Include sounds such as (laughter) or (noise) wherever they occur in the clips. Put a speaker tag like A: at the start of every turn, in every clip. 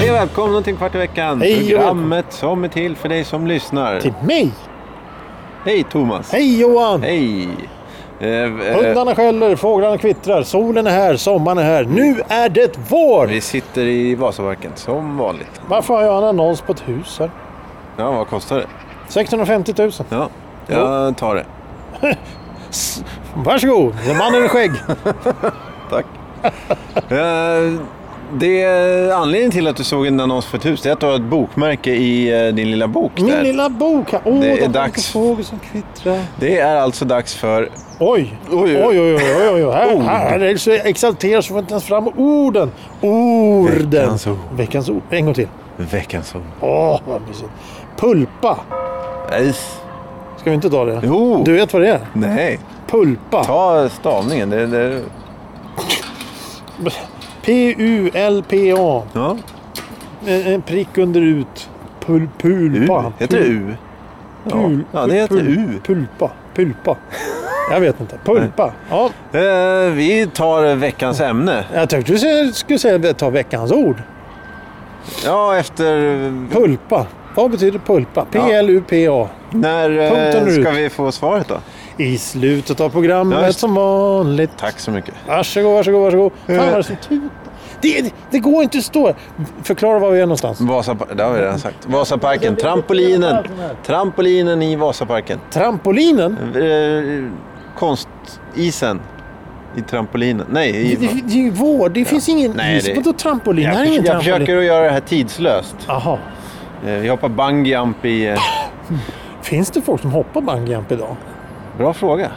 A: Hej och välkomna till Kvart i veckan.
B: Hej och
A: Programmet som är till för dig som lyssnar.
B: Till mig?
A: Hej Thomas.
B: Hej Johan!
A: Hej. Eh, eh,
B: Hundarna skäller, fåglarna kvittrar, solen är här, sommaren är här. Nu är det vår!
A: vi sitter i Vasaparken som vanligt.
B: Varför har jag en annons på ett hus här?
A: Ja, vad kostar det?
B: 650 000.
A: Ja, jag tar det.
B: Varsågod! Mannen
A: (laughs)
B: med skägg.
A: Tack. (laughs) Eh, det, anledningen till att du såg en annons för ett hus det är att du har ett bokmärke i eh, din lilla bok.
B: Min
A: där.
B: lilla bok här. Åh,
A: Det är
B: där fanns
A: dags.
B: en fågel som kvittrar.
A: Det är alltså dags för...
B: Oj!
A: Oj,
B: Oj,
A: oj.
B: oj, oj, oj, oj. Här,
A: Ord.
B: här är det så exalterat så får jag inte ens fram orden. Orden!
A: Veckans ord.
B: Veckans ord. En gång till.
A: Veckans ord.
B: Åh, vad mysigt. Pulpa.
A: Nej.
B: Ska vi inte ta det?
A: Jo.
B: Du vet vad det är?
A: Nej,
B: Pulpa.
A: ta stavningen. Det, det,
B: P-U-L-P-A.
A: ja.
B: En, en prick under ut. Pul, pulpa.
A: U. Heter det U?
B: Pul,
A: Ja, det heter U.
B: Pulpa. Pulpa. Jag vet inte.
A: (laughs)
B: Pulpa. Ja,
A: Eh, vi tar veckans ämne.
B: jag tänkte du skulle- skulle säga ta veckans ord.
A: Ja, efter...
B: Pulpa. Vad betyder pulpa? P-L-U-P-A.
A: När
B: Punkten
A: eh,
B: ut.
A: ska vi få svaret då?
B: I slutet av
A: Ja,
B: programmet
A: just-
B: som vanligt.
A: Tack så mycket.
B: Varsågod, varsågod, varsågod. Fan,
A: Eh.
B: vad det är så tut- det, det, det går inte att stå här. Förklara var vi är någonstans.
A: Vasapa- det har vi redan sagt. Vasaparken. Trampolinen. Trampolinen i Vasaparken.
B: Trampolinen?
A: Eh, konstisen i trampolinen. Nej,
B: Det,
A: i...
B: det, det är ju vår. Det finns ingen
A: Nej,
B: is.
A: det-
B: Vadå trampolin?
A: jag,
B: här är
A: förs-
B: ingen
A: jag
B: trampolin.
A: försöker att göra det här tidslöst.
B: Aha.
A: Eh, vi hoppar bungee jump i... Eh,
B: Finns det folk som hoppar bungyjump idag?
A: bra fråga.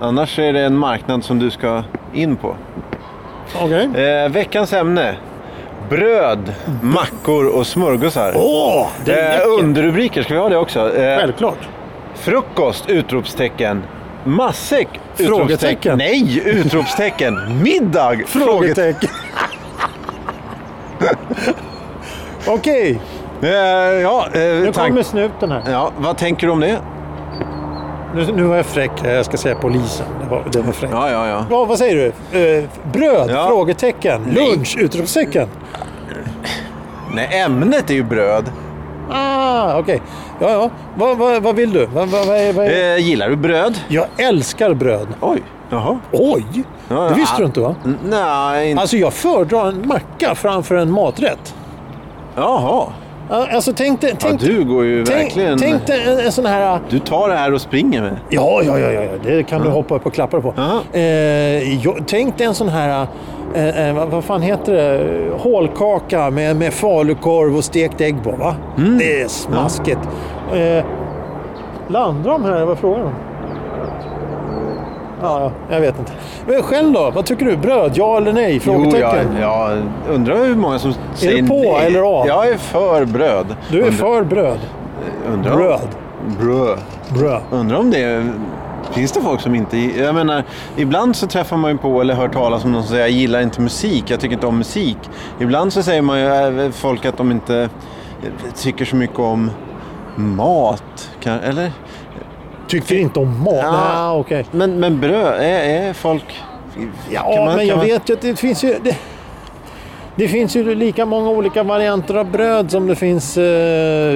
A: Annars är det en marknad som du ska in på.
B: Okej.
A: Eh, veckans ämne. Bröd, mackor och smörgåsar.
B: Åh! Det är
A: Eh,
B: läckert.
A: underrubriker, ska vi ha det också? Eh,
B: Självklart.
A: frukost! Utropstecken. Matsäck! utropstecken.
B: Frågetecken.
A: Nej! Utropstecken. Middag!
B: (laughs)
A: (laughs)
B: Frågetecken. Okej,
A: Eh, ja, eh,
B: nu kommer
A: tank...
B: snuten här.
A: ja, vad tänker du om det?
B: Nu, nu var jag fräck. Jag ska säga polisen. Det var, det var fräckt.
A: Ja, ja, ja.
B: Ja, vad säger du? Eh, bröd?
A: Ja.
B: Frågetecken. Lunch? Utropstecken?
A: Nej, ämnet är ju bröd.
B: Ah, okej. Ja, ja. Vad, vad, vad vill du? Vad, vad, vad, är- vad, är-
A: Eh, gillar du bröd?
B: Jag älskar bröd.
A: Oj. Jaha.
B: Oj!
A: Ja,
B: Det visste
A: ja.
B: du inte va?
A: N- Nej, inte...
B: Alltså jag föredrar en macka framför en maträtt.
A: Jaha.
B: Alltså tänk dig...
A: Ja,
B: Tänk,
A: du går ju
B: tänk,
A: verkligen...
B: tänk dig en, en sån här...
A: Du tar det här och springer med.
B: Ja, ja, ja, ja, ja. det kan du hoppa upp och klappa på.
A: Ja.
B: Eh, jag, tänk dig en sån här, eh, eh, vad, vad fan heter det, hålkaka med, med falukorv och stekt ägg på. Va?
A: Mm.
B: Det är smaskigt. Eh, landar de här? Vad frågar de? Ja, ja, jag vet inte. Men själv då? Vad tycker du? Bröd? Ja eller nej?
A: Jo, jag,
B: Frågetecken.
A: jag undrar hur många som säger
B: på
A: nej.
B: eller av?
A: Jag är för bröd.
B: Du är
A: Undrar-
B: för bröd?
A: Undrar om-
B: Bröd.
A: Bröd.
B: Bröd.
A: Undrar om det är... Finns det folk som inte... Jag menar, ibland så träffar man ju på eller hör talas om någon som säger jag gillar inte musik, jag tycker inte om musik. Ibland så säger man ju äh, folk att de inte eh, tycker så mycket om mat. Kan, eller?
B: Tycker inte om mat?
A: Ja.
B: Ah, okej.
A: Men, men bröd, är, är folk...
B: Ja, men jag vet ju att det finns ju... Det, det finns ju lika många olika varianter av bröd som det finns eh,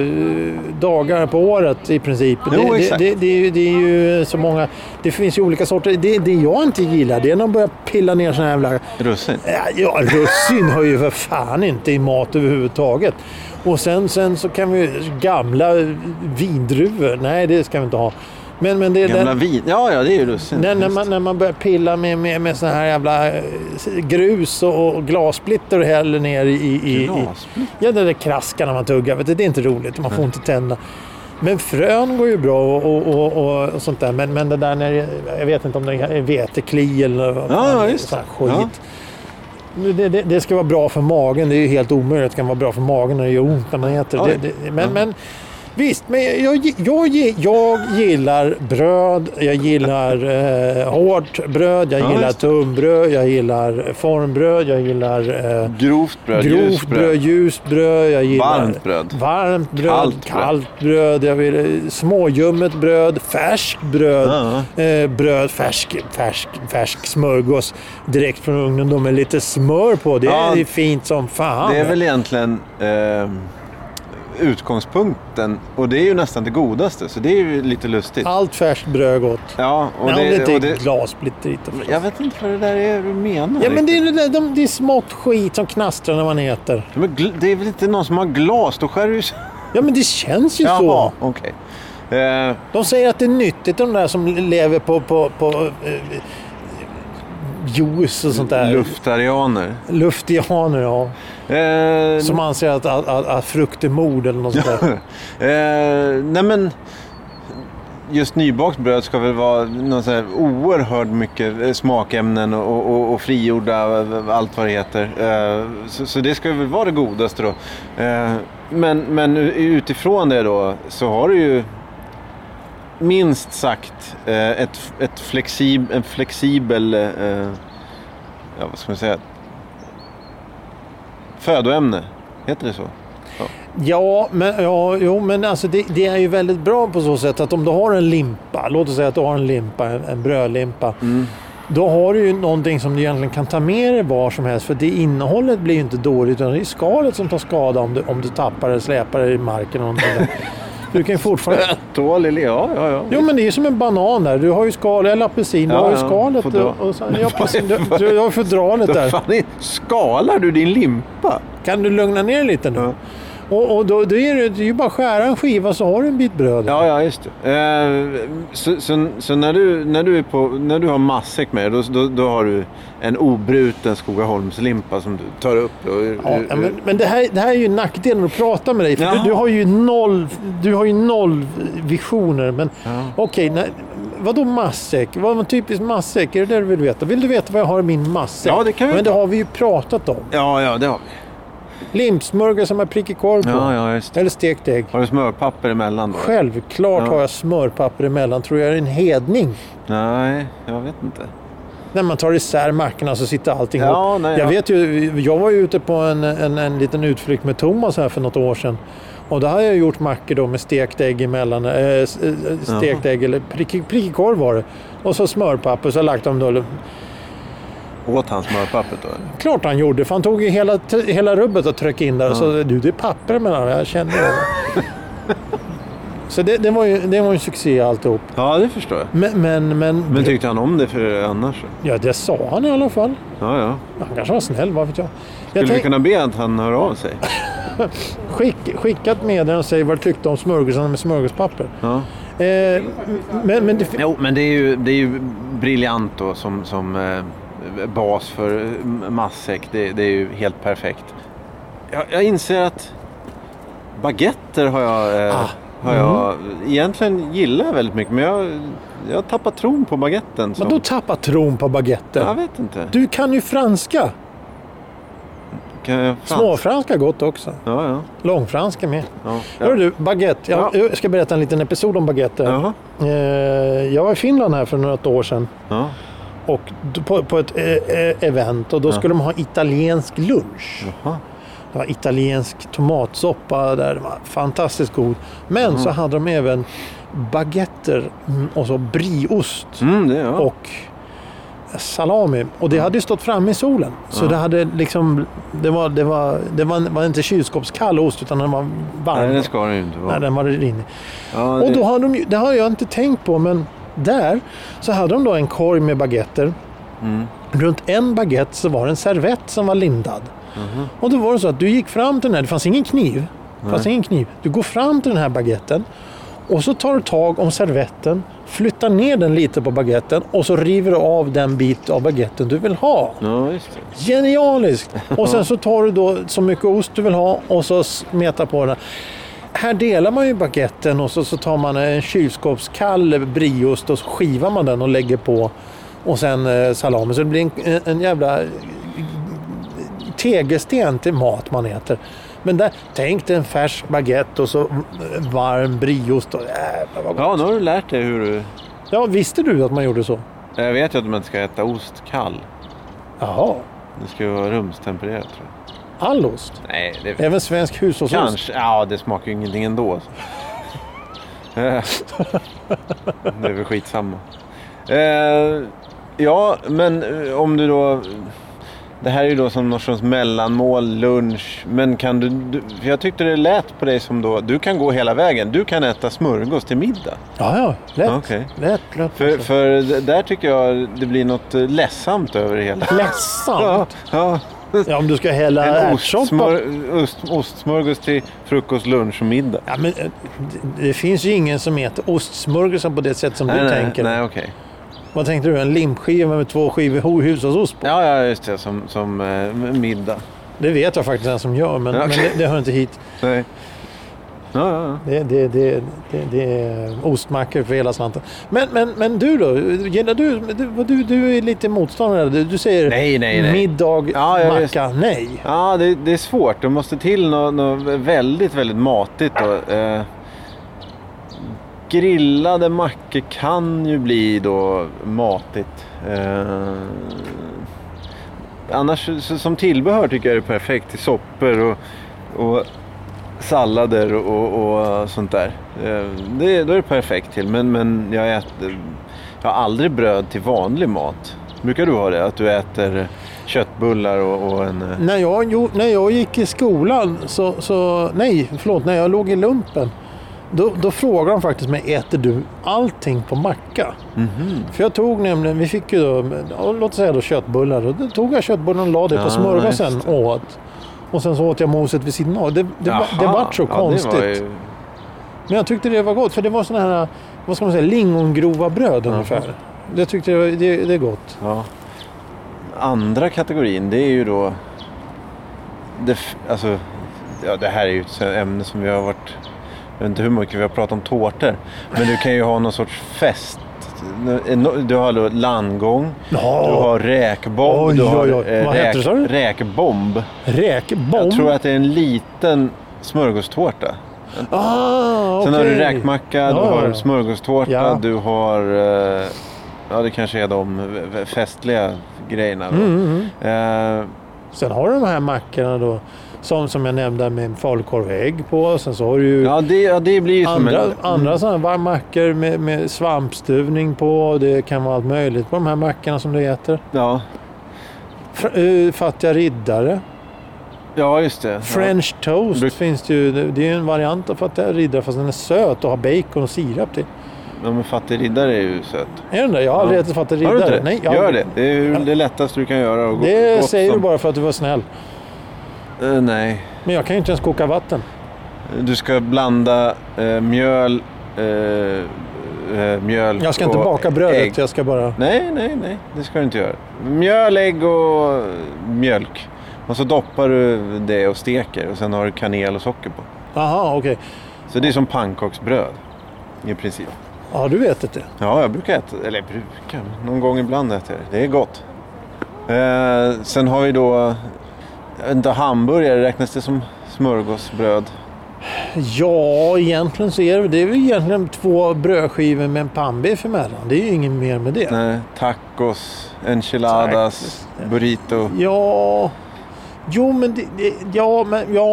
B: dagar på året i princip.
A: Jo,
B: det, det,
A: exakt.
B: det, det, är ju, det är ju så många... Det finns ju olika sorter. Det, det jag inte gillar det är när de börjar pilla ner såna här jävla...
A: Russin.
B: Ja, Ja, russin hör ju för fan inte i mat överhuvudtaget. Och sen, sen så kan vi gamla vindruvor. Nej, det ska vi inte ha. Men, men det,
A: Gamla
B: den,
A: vin. Ja, ja, det är ju russin.
B: när, när, man, när man börjar pilla med, med, med sån här jävla eh, grus och, och glassplitter och häller ner i... i, i i-
A: Glassplitter?
B: ja, det där kraskar när man tuggar. Vet du, det är inte roligt. Man får inte tänderna. Men frön går ju bra och, och, och, och, och sånt där. Men, men det där när det, Jag vet inte om det är vetekli eller vad
A: Ja,
B: fan det är,
A: just
B: sån här
A: det.
B: skit. Det, det, det ska vara bra för magen. Det är ju helt omöjligt. Det kan vara bra för magen när det gör ont när man äter.
A: Oj.
B: Det, det, men, men Visst, men jag, jag, jag, jag gillar bröd, jag gillar eh, hårt bröd, jag
A: Ja,
B: gillar
A: visst.
B: tunnbröd, jag gillar formbröd, jag gillar eh,
A: Grovt bröd,
B: grovt
A: ljust bröd.
B: bröd, ljust bröd, jag gillar
A: Varmt bröd.
B: varmt bröd, kallt
A: Kallt bröd.
B: bröd, jag vill, eh, småljummet bröd, färskt bröd,
A: Ja.
B: eh, bröd, färsk, färsk, färsk smörgås direkt från ugnen då med lite smör på. Det
A: Ja,
B: är fint som fan.
A: Det är väl egentligen eh, utgångspunkten och det är ju nästan det godaste så det är ju lite lustigt.
B: Allt färskt bröd är gott.
A: Ja, och
B: Nej, om det inte
A: och
B: är
A: det,
B: glassplitter i det.
A: jag vet inte vad det där är du menar.
B: Ja, men det
A: riktigt.
B: är, det, där, de, det är smått skit som knastrar när man äter.
A: Men gl- det är väl inte någon som har glas? Då skär du ju...
B: Ja, men det känns ju så.
A: Jaha, okej. Eh,
B: De säger att det är nyttigt, de där som lever på, på, på eh, juice och sånt där.
A: luftarianer.
B: Luftianer, ja.
A: Eh,
B: Som anser att, att, att, att frukt är mord eller något sånt där.
A: (laughs) eh, nej men, just nybakt bröd ska väl vara någon sån här oerhört mycket eh, smakämnen och, och, och frigjorda eh, allt vad det heter. Eh, så, så det ska väl vara det godaste då. Eh, men, men u- utifrån det då så har du ju minst sagt eh, ett, ett flexib, en flexibel, eh, ja vad ska man säga, födoämne. Heter det så?
B: Ja, men, ja, jo, men alltså det, det är ju väldigt bra på så sätt att om du har en limpa, låt oss säga att du har en limpa, en, en brödlimpa. Då har du ju någonting som du egentligen kan ta med dig var som helst för det innehållet blir ju inte dåligt utan det är skalet som tar skada om du, om du tappar eller släpar det i marken. Eller någonting. du kan ju fortfarande...
A: Tål, ja, ja, ja.
B: Jo men det är ju som en banan där, du har ju skal eller apelsin, du
A: Ja,
B: har ju
A: ja,
B: skalet.
A: får dra.
B: och-
A: (laughs)
B: och sen, ja, precis, du, du har ju fodralet där.
A: Fan, i- skalar du din limpa?
B: Kan du lugna ner dig lite nu?
A: Ja.
B: Och, och då, då är det, det är ju bara att skära en skiva så har du en bit bröd.
A: Ja, ja, just det. Eh, så så, så när, du, när, du är på, när du har matsäck med dig, då, då, då har du en obruten Skogaholmslimpa som du tar upp. Då, ur,
B: Ja,
A: ur-
B: ja, men men det, här, det här är ju nackdelen att prata med dig. För du,
A: Jaha.
B: du, har ju noll, du har ju noll visioner. Men okej, okay, vadå massäck? Vad är en typisk massäck? Är det det du vill veta? Vill du veta vad jag har i min massäck?
A: Ja, det kan vi
B: Men det har vi ju pratat om.
A: ja, ja, det har vi.
B: Limpsmörgås som är prickig korv på.
A: Ja, ja, just det.
B: Eller stekt ägg.
A: Har du smörpapper emellan då?
B: Självklart
A: Ja.
B: har jag smörpapper emellan. Tror jag är en hedning.
A: Nej, jag vet inte.
B: När man tar isär mackorna så sitter allting
A: Ja,
B: ihop.
A: nej,
B: jag,
A: ja.
B: vet ju, jag var ju ute på en, en, en liten utflykt med Thomas här för något år sedan. Och då hade jag gjort mackor då med stekt ägg emellan. eh, s- eh, stekt ägg, eller prick, prickig korv var det. Och så smörpapper, så har jag lagt dem då.
A: Åt han smörpappret då? eller?
B: Klart han gjorde, för han tog ju hela, t- hela rubbet och tryckte in där. Och så, du det är papper emellan, jag
A: (laughs)
B: känner det. så det, det, var ju, det var ju en succé alltihop.
A: Ja, det förstår jag.
B: Men, men, men,
A: Men tyckte han om det för annars?
B: ja, det sa han i alla fall.
A: Ja, ja.
B: Han kanske var snäll, vad vet jag. jag
A: Skulle vi
B: tänk-
A: kunna be att han hör av sig?
B: Skick, skickat med den och säg vad du tyckte om smörgåsarna med smörgåspapper.
A: Ja.
B: Eh, men, men det,
A: Jo, men det är ju, det är ju briljant då som, som eh, bas för eh, matsäck. Det, det är ju helt perfekt. Jag, jag inser att baguetter har jag, eh,
B: Ah, mm.
A: har jag egentligen gillar jag väldigt mycket. Men jag, jag har tappat tron på baguetten.
B: men
A: Som,
B: då tappar tron på
A: jag
B: baguetten.
A: vet inte.
B: Du kan ju franska.
A: kan jag, fan.
B: Småfranska gott också.
A: Ja, ja.
B: Långfranska med.
A: ja, ja.
B: Hörru du, baguette. Jag,
A: Ja.
B: jag ska berätta en liten episod om baguette.
A: Jaha.
B: Eh, jag var i Finland här för något år sedan.
A: Ja.
B: Och d- på, på ett eh, eh, event och då skulle de ha italiensk lunch.
A: Jaha.
B: Det var italiensk tomatsoppa där. Den var fantastiskt god. Men så hade de även baguetter mm, och så brieost
A: Mm, det, ja.
B: och salami. Och det hade ju stått framme i solen. Så det hade liksom... Det var, det var, det var, var inte kylskåpskall ost utan den var varm.
A: Nej, det ska det ju inte vara.
B: Nej, den var rinnig.
A: ja, det,
B: Och då har de ju, det har jag inte tänkt på, men där så hade de då en korg med baguetter.
A: Mm.
B: Runt en baguette så var det en servett som var lindad.
A: Mhm.
B: Och då var det så att du gick fram till den här, det fanns ingen kniv. Det fanns ingen kniv. Du går fram till den här baguetten och så tar du tag om servetten, flyttar ner den lite på baguetten och så river du av den bit av baguetten du vill ha.
A: ja, just det.
B: Genialiskt! Och sen så tar du då så mycket ost du vill ha och så smetar på den. Här delar man ju baguetten och så, så tar man en kylskåpskall brieost och så skivar man den och lägger på. Och sen eh, salami. Så det blir en, en jävla tegelsten till mat man äter. Men där, tänk dig en färsk baguette och så varm brieost. Och, jävlar vad gott.
A: Ja, nu har du lärt dig hur du...
B: Ja, visste du att man gjorde så?
A: Jag vet ju att man inte ska äta ost kall.
B: Jaha,
A: Det ska ju vara rumstempererat tror jag.
B: all ost?
A: Nej, det
B: Även svensk hushållsost?
A: Kanske. Ja, det smakar ju ingenting ändå. alltså.
B: (laughs)
A: Eh, det är väl skitsamma. Eh, ja, men eh, om du då... Det här är ju då som någon sorts mellanmål, lunch. Men kan du, du... För jag tyckte det lät på dig som då... Du kan gå hela vägen. Du kan äta smörgås till middag.
B: Ja, ja, lätt.
A: Okej.
B: lätt, lätt.
A: För, för d- där tycker jag det blir något eh, ledsamt över det hela. Ja,
B: Ledsamt.
A: ja.
B: Ja, om du ska hälla
A: En
B: ärtsoppa.
A: ostsmör, ost, ostsmörgås till frukost, lunch och middag.
B: Ja, men, eh, det- det finns ju ingen som äter ostsmörgåsen på det sätt som du tänker.
A: nej, okej.
B: Vad tänkte du? En limskiva med två skivor ho- hushållsost på?
A: Ja, ja, just det. Som, som eh, middag.
B: Det vet jag faktiskt en som gör, men,
A: Ja,
B: men
A: okej.
B: det, det hör inte hit.
A: Nej. Ja, ja, ja.
B: Det, det, det, det, det är ostmackor för hela slanten. Men, men, men du då? Gillar du, du, du, du är lite motståndare. Du, du säger
A: Nej, nej, nej.
B: middag,
A: Ja, ja, visst.
B: macka, nej.
A: ja det, det är svårt. Det måste till något nå väldigt, väldigt matigt. Då. Eh, grillade mackor kan ju bli då matigt. Eh, annars så, som tillbehör tycker jag det är perfekt till soppor och, och sallader och, och sånt där. Eh, Det, då är det perfekt till. Men, men jag, äter, jag har aldrig bröd till vanlig mat. Brukar du ha det? Att du äter köttbullar och, och en... eh,
B: När jag, jo, när jag gick i skolan, så, så, nej förlåt, när jag låg i lumpen, då, då frågade de faktiskt mig, äter du allting på macka?
A: Mhm.
B: För jag tog nämligen, vi fick ju då, ja, låt säga då köttbullar, och då tog jag köttbullen och la det
A: Ja,
B: på smörgåsen
A: just
B: och åt. Och sen så åt jag moset vid sidan av. Det, det, var, det
A: Jaha.
B: var så
A: Ja,
B: konstigt.
A: Det var ju...
B: Men jag tyckte det var gott, för det var sådana här, vad ska man säga, lingongrova bröd ungefär. Jag tyckte det, var, det, det är gott.
A: ja. Andra kategorin, det är ju då... Det, f- alltså, ja, det här är ju ett ämne som vi har varit... Jag vet inte hur mycket vi har pratat om tårtor. Men du kan ju ha någon sorts fest. eh, Du har då landgång.
B: Ja.
A: Du har räkbomb.
B: Oj,
A: du har
B: oj, oj.
A: eh,
B: Vad heter det, sa du?
A: räkbomb.
B: Räkbomb?
A: Jag tror att det är en liten smörgåstårta.
B: Ah,
A: Sen har du
B: okej.
A: räkmacka,
B: Ja,
A: du har
B: ja, ja.
A: smörgåstårta,
B: Ja.
A: du har... eh, Ja, det kanske är de v- festliga grejerna. Då.
B: Mm.
A: Eh,
B: Sen har du de här mackorna då, som, som jag nämnde med falukorv och ägg på. Sen så har du ju
A: ja, det, ja, det blir ju som
B: andra,
A: en...
B: andra sådana här varma mackor med, med svampstuvning på. Det kan vara allt möjligt på de här mackorna som du äter.
A: Ja,
B: Fr- eh, fattiga riddare.
A: ja just det.
B: French toast
A: Bruk-
B: finns det ju. Det- Det är ju en variant av fattiga riddare fast den är söt och har bacon och sirap till.
A: Ja, ja, men fattig riddare är ju söt.
B: Är den det? Jag har aldrig ätit fattiga
A: Har
B: riddare.
A: du inte det?
B: Nej, jag-
A: Gör det. Det är ju det lättaste du kan göra. Och gå-
B: Det
A: gott
B: säger du
A: som-
B: bara för att du var snäll.
A: Eh, nej.
B: Men jag kan ju inte ens koka vatten.
A: Du ska blanda eh, mjöl, eh, eh, mjöl
B: Jag ska inte
A: och
B: baka brödet.
A: ägg.
B: Jag ska bara...
A: Nej, nej, nej. Det ska du inte göra. Mjöl, ägg och eh, mjölk. Och så doppar du det och steker och sen har du kanel och socker på.
B: Aha, okej.
A: Så det är som pannkaksbröd i princip.
B: Ja, har du ätit det?
A: Ja, jag brukar äta Eller brukar, men någon gång ibland äter jag det. Det är gott. Eh, sen har vi då... Jag vet inte, hamburgare, räknas det som smörgåsbröd?
B: Ja, egentligen så är det, det är väl egentligen två brödskivor med en pannbiff emellan. Det är ju inget mer med det.
A: Nej, tacos, enchiladas, burrito.
B: Ja... Jo, men det, det, ja, men ja...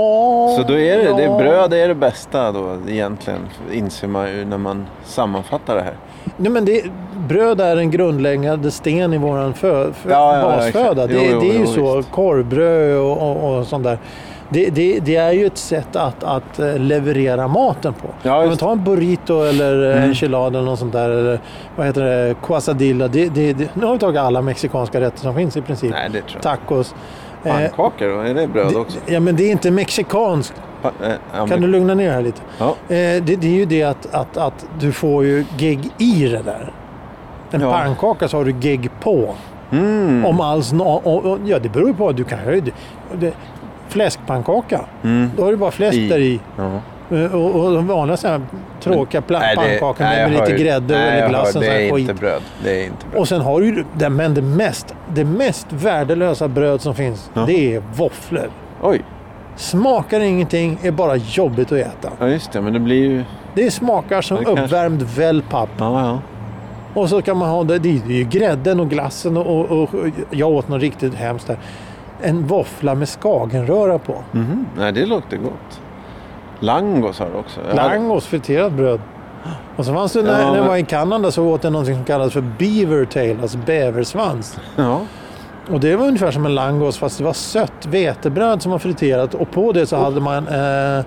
A: Så då är det,
B: ja.
A: det är bröd är det bästa då egentligen, inser man ju när man sammanfattar det här.
B: Nej, men det, bröd är en grundläggande sten i vår fö, fö,
A: Ja, ja, ja,
B: basföda.
A: exakt.
B: det,
A: Jo, jo,
B: det är ju
A: jo,
B: så.
A: visst.
B: Korvbröd och, och, och sånt där. Det, det, det är ju ett sätt att, att eh, leverera maten på.
A: Ja,
B: Om man
A: just-
B: tar en burrito eller mm. enchilada eller något sånt där. Eller vad heter det? Quesadilla. Det, det, det, nu har vi tagit alla mexikanska rätter som finns i princip.
A: Nej, det tror jag
B: Tacos. Eh,
A: Pannkakor då? Är det bröd
B: det-
A: också?
B: ja, men det är inte mexikanskt.
A: Pa- eh, ja,
B: Kan
A: men-
B: du lugna ner här lite?
A: Ja.
B: Eh, det, det är ju det att, att, att du får ju gegg i det där. En
A: Ja.
B: pannkaka så har du gegg på.
A: Mm,
B: Om alls nå- och, och, Ja, det beror ju på. Du kan ju... det- det- Fläskpannkaka.
A: mm.
B: Då har du bara fläsk
A: I.
B: där i.
A: Ja.
B: Eh, Och, och de vanliga så här tråkiga pla-
A: Mm. Nej, det-
B: pannkakor
A: nej,
B: med,
A: jag
B: med
A: hör
B: lite
A: ju-
B: grädde
A: nej, jag
B: eller
A: hör,
B: glass och sån
A: Det
B: här
A: är
B: skit.
A: inte bröd. Det är inte bröd.
B: Och sen har du ju det, men det mest, det mest värdelösa bröd som finns, det är våfflor.
A: Oj,
B: Smakar ingenting, är bara jobbigt att äta.
A: Ja, just det. Men det blir ju...
B: Det smakar som
A: Det kanske-
B: uppvärmd wellpapp.
A: Ja, ja.
B: Och så kan man ha det, det är ju grädden och glassen och, och, och jag åt något riktigt hemskt där. En våffla med skagenröra på.
A: Mhm. Nej, det låter gott. Langos har du också. Jag har-
B: Langos, friterat bröd. Och så fanns det, när,
A: Ja,
B: när jag
A: men-
B: var i Kanada så åt jag någonting som kallas för beaver tail, alltså bäversvans.
A: Ja.
B: Och det var ungefär som en langos fast det var sött vetebröd som var friterat och på det så hade man eh,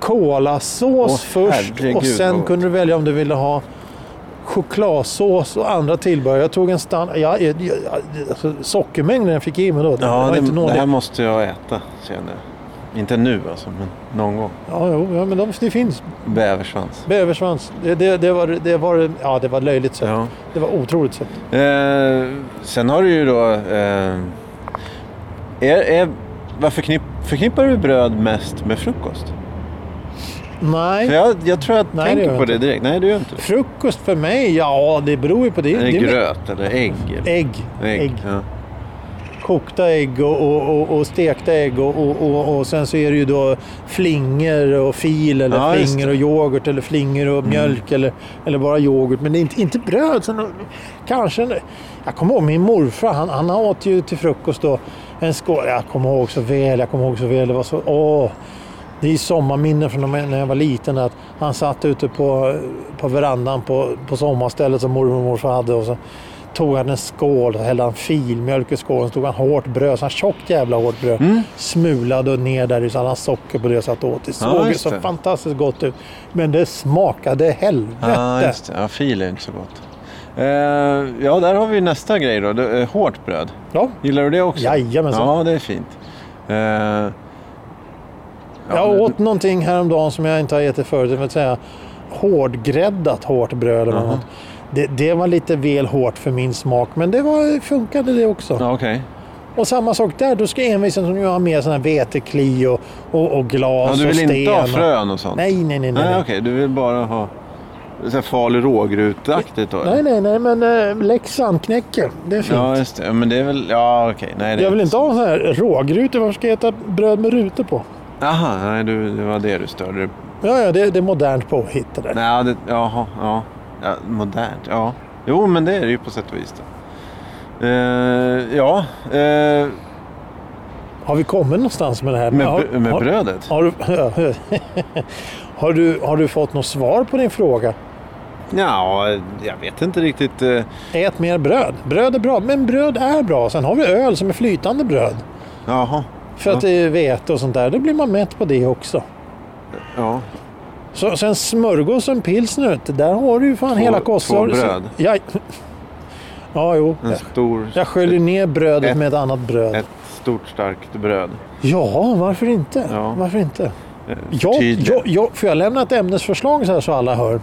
B: kolasås
A: Åh,
B: först
A: herregud,
B: och
A: vad
B: sen
A: gott.
B: kunde du välja om du ville ha chokladsås och andra tillbehör. Jag tog en standard... Jag, jag, jag, alltså, sockermängden jag fick i mig då,
A: Ja,
B: var
A: det,
B: inte
A: det
B: nådig.
A: här måste jag äta känner jag. Inte nu alltså, men någon gång.
B: Ja, jo, ja, men de, det finns.
A: Bäversvans.
B: Bäversvans. Det, det, det, var, det, var, ja, det var löjligt sött.
A: Ja.
B: Det var otroligt sött.
A: Eh, sen har du ju då... Eh, är, är, vad förknipp, förknippar du bröd mest med frukost? För
B: Nej.
A: jag, jag tror jag
B: Nej, det gör
A: tänker
B: jag
A: på det
B: inte.
A: direkt. Nej, du gör inte det.
B: Frukost för mig, ja det beror ju på det.
A: Är det
B: det är
A: gröt eller ägg? Eller?
B: Ägg. ägg.
A: Ja.
B: kokta ägg och, och, och, och stekta ägg och, och, och, och sen så är det ju då flingor och fil eller
A: Ja, Mm. just
B: flingor
A: det.
B: och yoghurt eller flingor och mjölk eller, eller bara yoghurt. Men det är inte, inte bröd. Sen, kanske en, jag kommer ihåg min morfar, han, han åt ju till frukost då en skål. Jag kommer ihåg så väl, jag kommer ihåg så väl. Det var så, åh. Det är sommarminnen från när jag var liten. Att han satt ute på, på verandan på, på sommarstället som mormor och morfar hade. Och så tog han en skål och hällde han filmjölk i skålen. Så tog han hårt bröd, så här tjockt jävla hårt bröd. Smulade och ner där i så hade han socker på det och satt och åt. Det såg
A: Mm. Ja,
B: ju
A: just
B: så
A: det.
B: fantastiskt gott ut. Men det smakade helvete.
A: Ja, just det. Ja, fil är inte så gott. Eh, ja, där har vi nästa grej då. Det är Hårt bröd.
B: Ja.
A: Gillar du det också?
B: Jajamensan.
A: Ja, det är fint. Eh, ja,
B: Jag
A: men-
B: åt någonting häromdagen som jag inte har ätit förut. Det vill säga hårdgräddat hårt bröd eller något. Det, det var lite väl hårt för min smak, men det var, funkade det också.
A: Ja, okej.
B: Och samma sak där, då ska envisen som jag ha med sån här vetekli och, och, och glas
A: Ja, du
B: och
A: vill
B: sten.
A: inte ha
B: och-
A: frön och sånt?
B: Nej, nej, nej. nej,
A: Nej,
B: nej.
A: okej. Du vill bara ha så här farlig rågrutaktigt då? eller?
B: Nej, nej, nej, men äh, Leksand knäcker. Det är fint.
A: Ja, just det. Ja, Men det är väl... Ja, okej. Nej, det...
B: jag vill inte ha sån här rågrutor. Varför ska jag äta bröd med rutor på?
A: Aha, nej, du, det var det du störde dig på.
B: Ja, ja, det, det är modernt påhitt det där.
A: Nej, det... Jaha, ja. ja. Modernt, ja. Jo, men det är det ju på sätt och vis. Då. Eh, ja, eh,
B: Har vi kommit någonstans med det här?
A: med,
B: har,
A: br- med
B: har-
A: brödet.
B: Har du, (laughs) har, du, har du fått något svar på din fråga?
A: Ja, jag vet inte riktigt. eh,
B: Ät mer bröd. Bröd är bra, men bröd är bra. Sen har vi öl som är flytande bröd.
A: Jaha.
B: För
A: Ja.
B: att det är vete och sånt där. Då blir man mätt på det också.
A: Ja.
B: Så, sen smörgås och en pilsner, vet du, där har du ju fan
A: Två-
B: hela kossan.
A: två bröd.
B: Ja, ja jo.
A: En stor...
B: Jag sköljer ner brödet
A: Ett-
B: med ett annat bröd.
A: Ett stort starkt bröd.
B: Ja, varför inte?
A: Ja.
B: Varför inte?
A: Eh,
B: Jag,
A: förtydliga.
B: jag, jag, får jag lämna ett ämnesförslag så här så alla hör?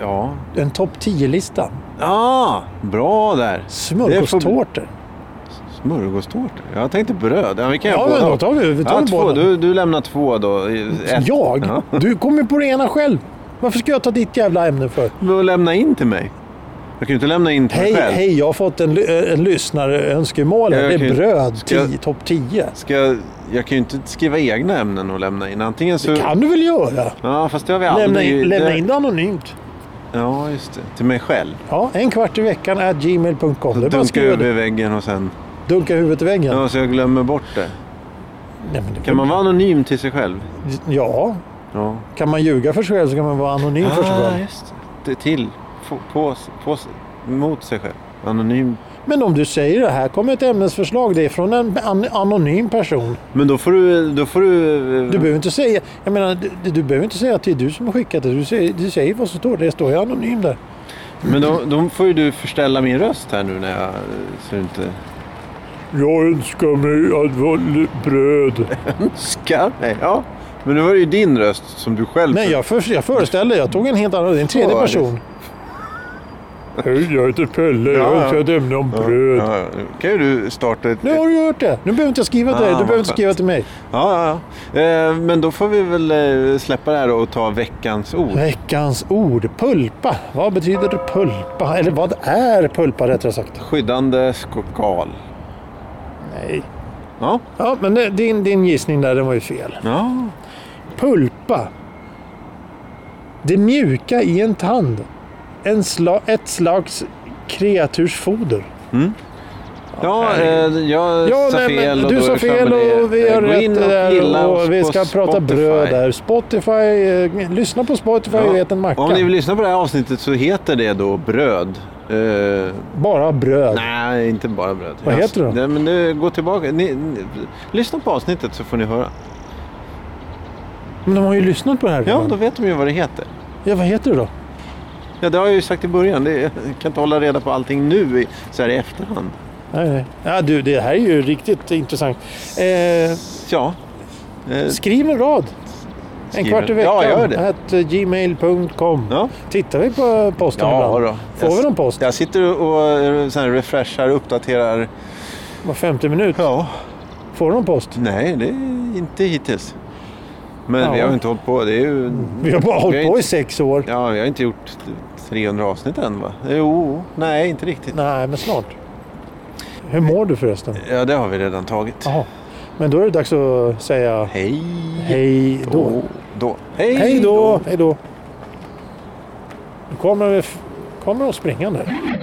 A: Ja.
B: En topp 10-lista.
A: Ja, bra där.
B: Smörgåstårtor.
A: Smörgåstårta? Jag tänkte bröd. Ja, vi kan
B: Ja,
A: göra båda.
B: men då tar vi, vi tar
A: ja, två.
B: båda.
A: Du, du lämnar två då. Ett.
B: Jag?
A: Ja.
B: Du kommer på det ena själv. Varför ska jag ta ditt jävla ämne för?
A: Du får lämna in till mig. Jag kan ju inte lämna in till
B: Hej,
A: mig själv.
B: hej, jag har fått en, ly- eh, en lyssnarönskemål. här.
A: Ja,
B: Det
A: okej.
B: är bröd,
A: Ska jag-
B: tio, topp 10.
A: Ska jag, jag kan ju inte skriva egna ämnen och lämna in. Antingen så...
B: kan du väl göra?
A: Ja, fast det har vi
B: Lämna
A: aldrig...
B: in, lämna
A: det-
B: in det anonymt.
A: Ja, just det. Till mig själv.
B: Ja, en kvart i veckan är gmail.com. Det är bara att
A: Dunka
B: skriva
A: över
B: det.
A: i väggen och sen...
B: Dunka huvudet i väggen.
A: Ja, så jag glömmer bort det.
B: Nej, men det
A: Kan man vara anonym till sig själv?
B: ja,
A: Ja.
B: kan man ljuga för sig själv så kan man vara anonym för sig
A: Ah,
B: själv.
A: just det. det. Till. På, på, på, mot sig själv. Anonym.
B: Men om du säger det här kommer ett ämnesförslag. Det är från en an- anonym person.
A: Men då får du... Då får du...
B: Du behöver inte säga, jag menar, du, du behöver inte säga att det är du som har skickat det. Du säger, du säger vad som står. Det står ju anonym där.
A: Men då, då får ju du förställa min röst här nu när jag... Så du inte...
B: Jag önskar mig att vara bröd.
A: Skar mig, ja. Men nu var det ju din röst som du själv...
B: Nej, jag, för, jag föreställer. Jag tog en helt annan. Det är en tredje
A: Ja,
B: person. Hej, jag heter Pelle.
A: Ja, ja.
B: ett ämne om
A: Ja, Ja, ja. Nu kan ju du starta ett...
B: Nu har du gjort det. Nu behöver inte jag skriva till
A: Ah,
B: dig. Du
A: vad
B: behöver inte
A: skönt.
B: skriva till mig.
A: Ja, ja, ja. Eh, Men då får vi väl eh, släppa det här och ta veckans ord.
B: Veckans ord. Pulpa. Vad betyder pulpa? Eller vad är pulpa rättare sagt?
A: Skyddande skal.
B: Nej.
A: Ja.
B: Ja, men det- din, din gissning där, den var ju fel.
A: ja.
B: Pulpa. Det mjuka i en tand. En sla, ett slags kreatursfoder.
A: Ja, eh, jag sa
B: nej, men
A: fel och
B: du
A: då är
B: sa
A: det
B: fel
A: så, men det-
B: och vi har
A: Gå in
B: rätt
A: och
B: där
A: gilla
B: och,
A: oss
B: vi
A: på
B: ska prata
A: Spotify.
B: bröd där. Spotify, eh, lyssna på Spotify och ät en macka.
A: Om ni vill lyssna på det här avsnittet så heter det då bröd. Eh,
B: Bara bröd.
A: nej, inte bara bröd.
B: Vad
A: Jag-
B: heter det då?
A: Nej, men det, gå tillbaka. Ni, ni, lyssna på avsnittet så får ni höra.
B: Men de har ju lyssnat på det här
A: Ja,
B: redan.
A: då vet de ju vad det heter.
B: ja, vad heter du då?
A: Ja, det har jag ju sagt i början. Det, jag kan inte hålla reda på allting nu i, så här i efterhand.
B: Nej, nej. Ja, du, det här är ju riktigt intressant. Eh,
A: Ja. Eh,
B: skriv en rad. En
A: Skriv en-
B: kvart i veckan.
A: Ja, gör det.
B: At eh, gmail.com.
A: Ja.
B: Tittar vi på posten
A: Ja,
B: ibland?
A: då.
B: Får
A: Jag-
B: vi någon post?
A: Jag sitter och eh, så här, refreshar, uppdaterar.
B: Var 50 minut.
A: Ja. Mm.
B: Får vi någon post?
A: Nej, det är inte hittills. Men
B: Ja.
A: vi har ju inte hållit på. Det är ju...
B: Vi har bara
A: Vi
B: hållit
A: har
B: på i
A: inte-
B: sex år.
A: Ja, vi har inte gjort 300 avsnitt än va? Jo, nej inte riktigt.
B: Nej, men snart. Hur mår du förresten?
A: Ja, det har vi redan tagit.
B: Jaha. Men då är det dags att säga
A: Hej
B: hej då.
A: då. Hej,
B: Hej då! Hej då! Nu kommer, vi f- kommer de springande.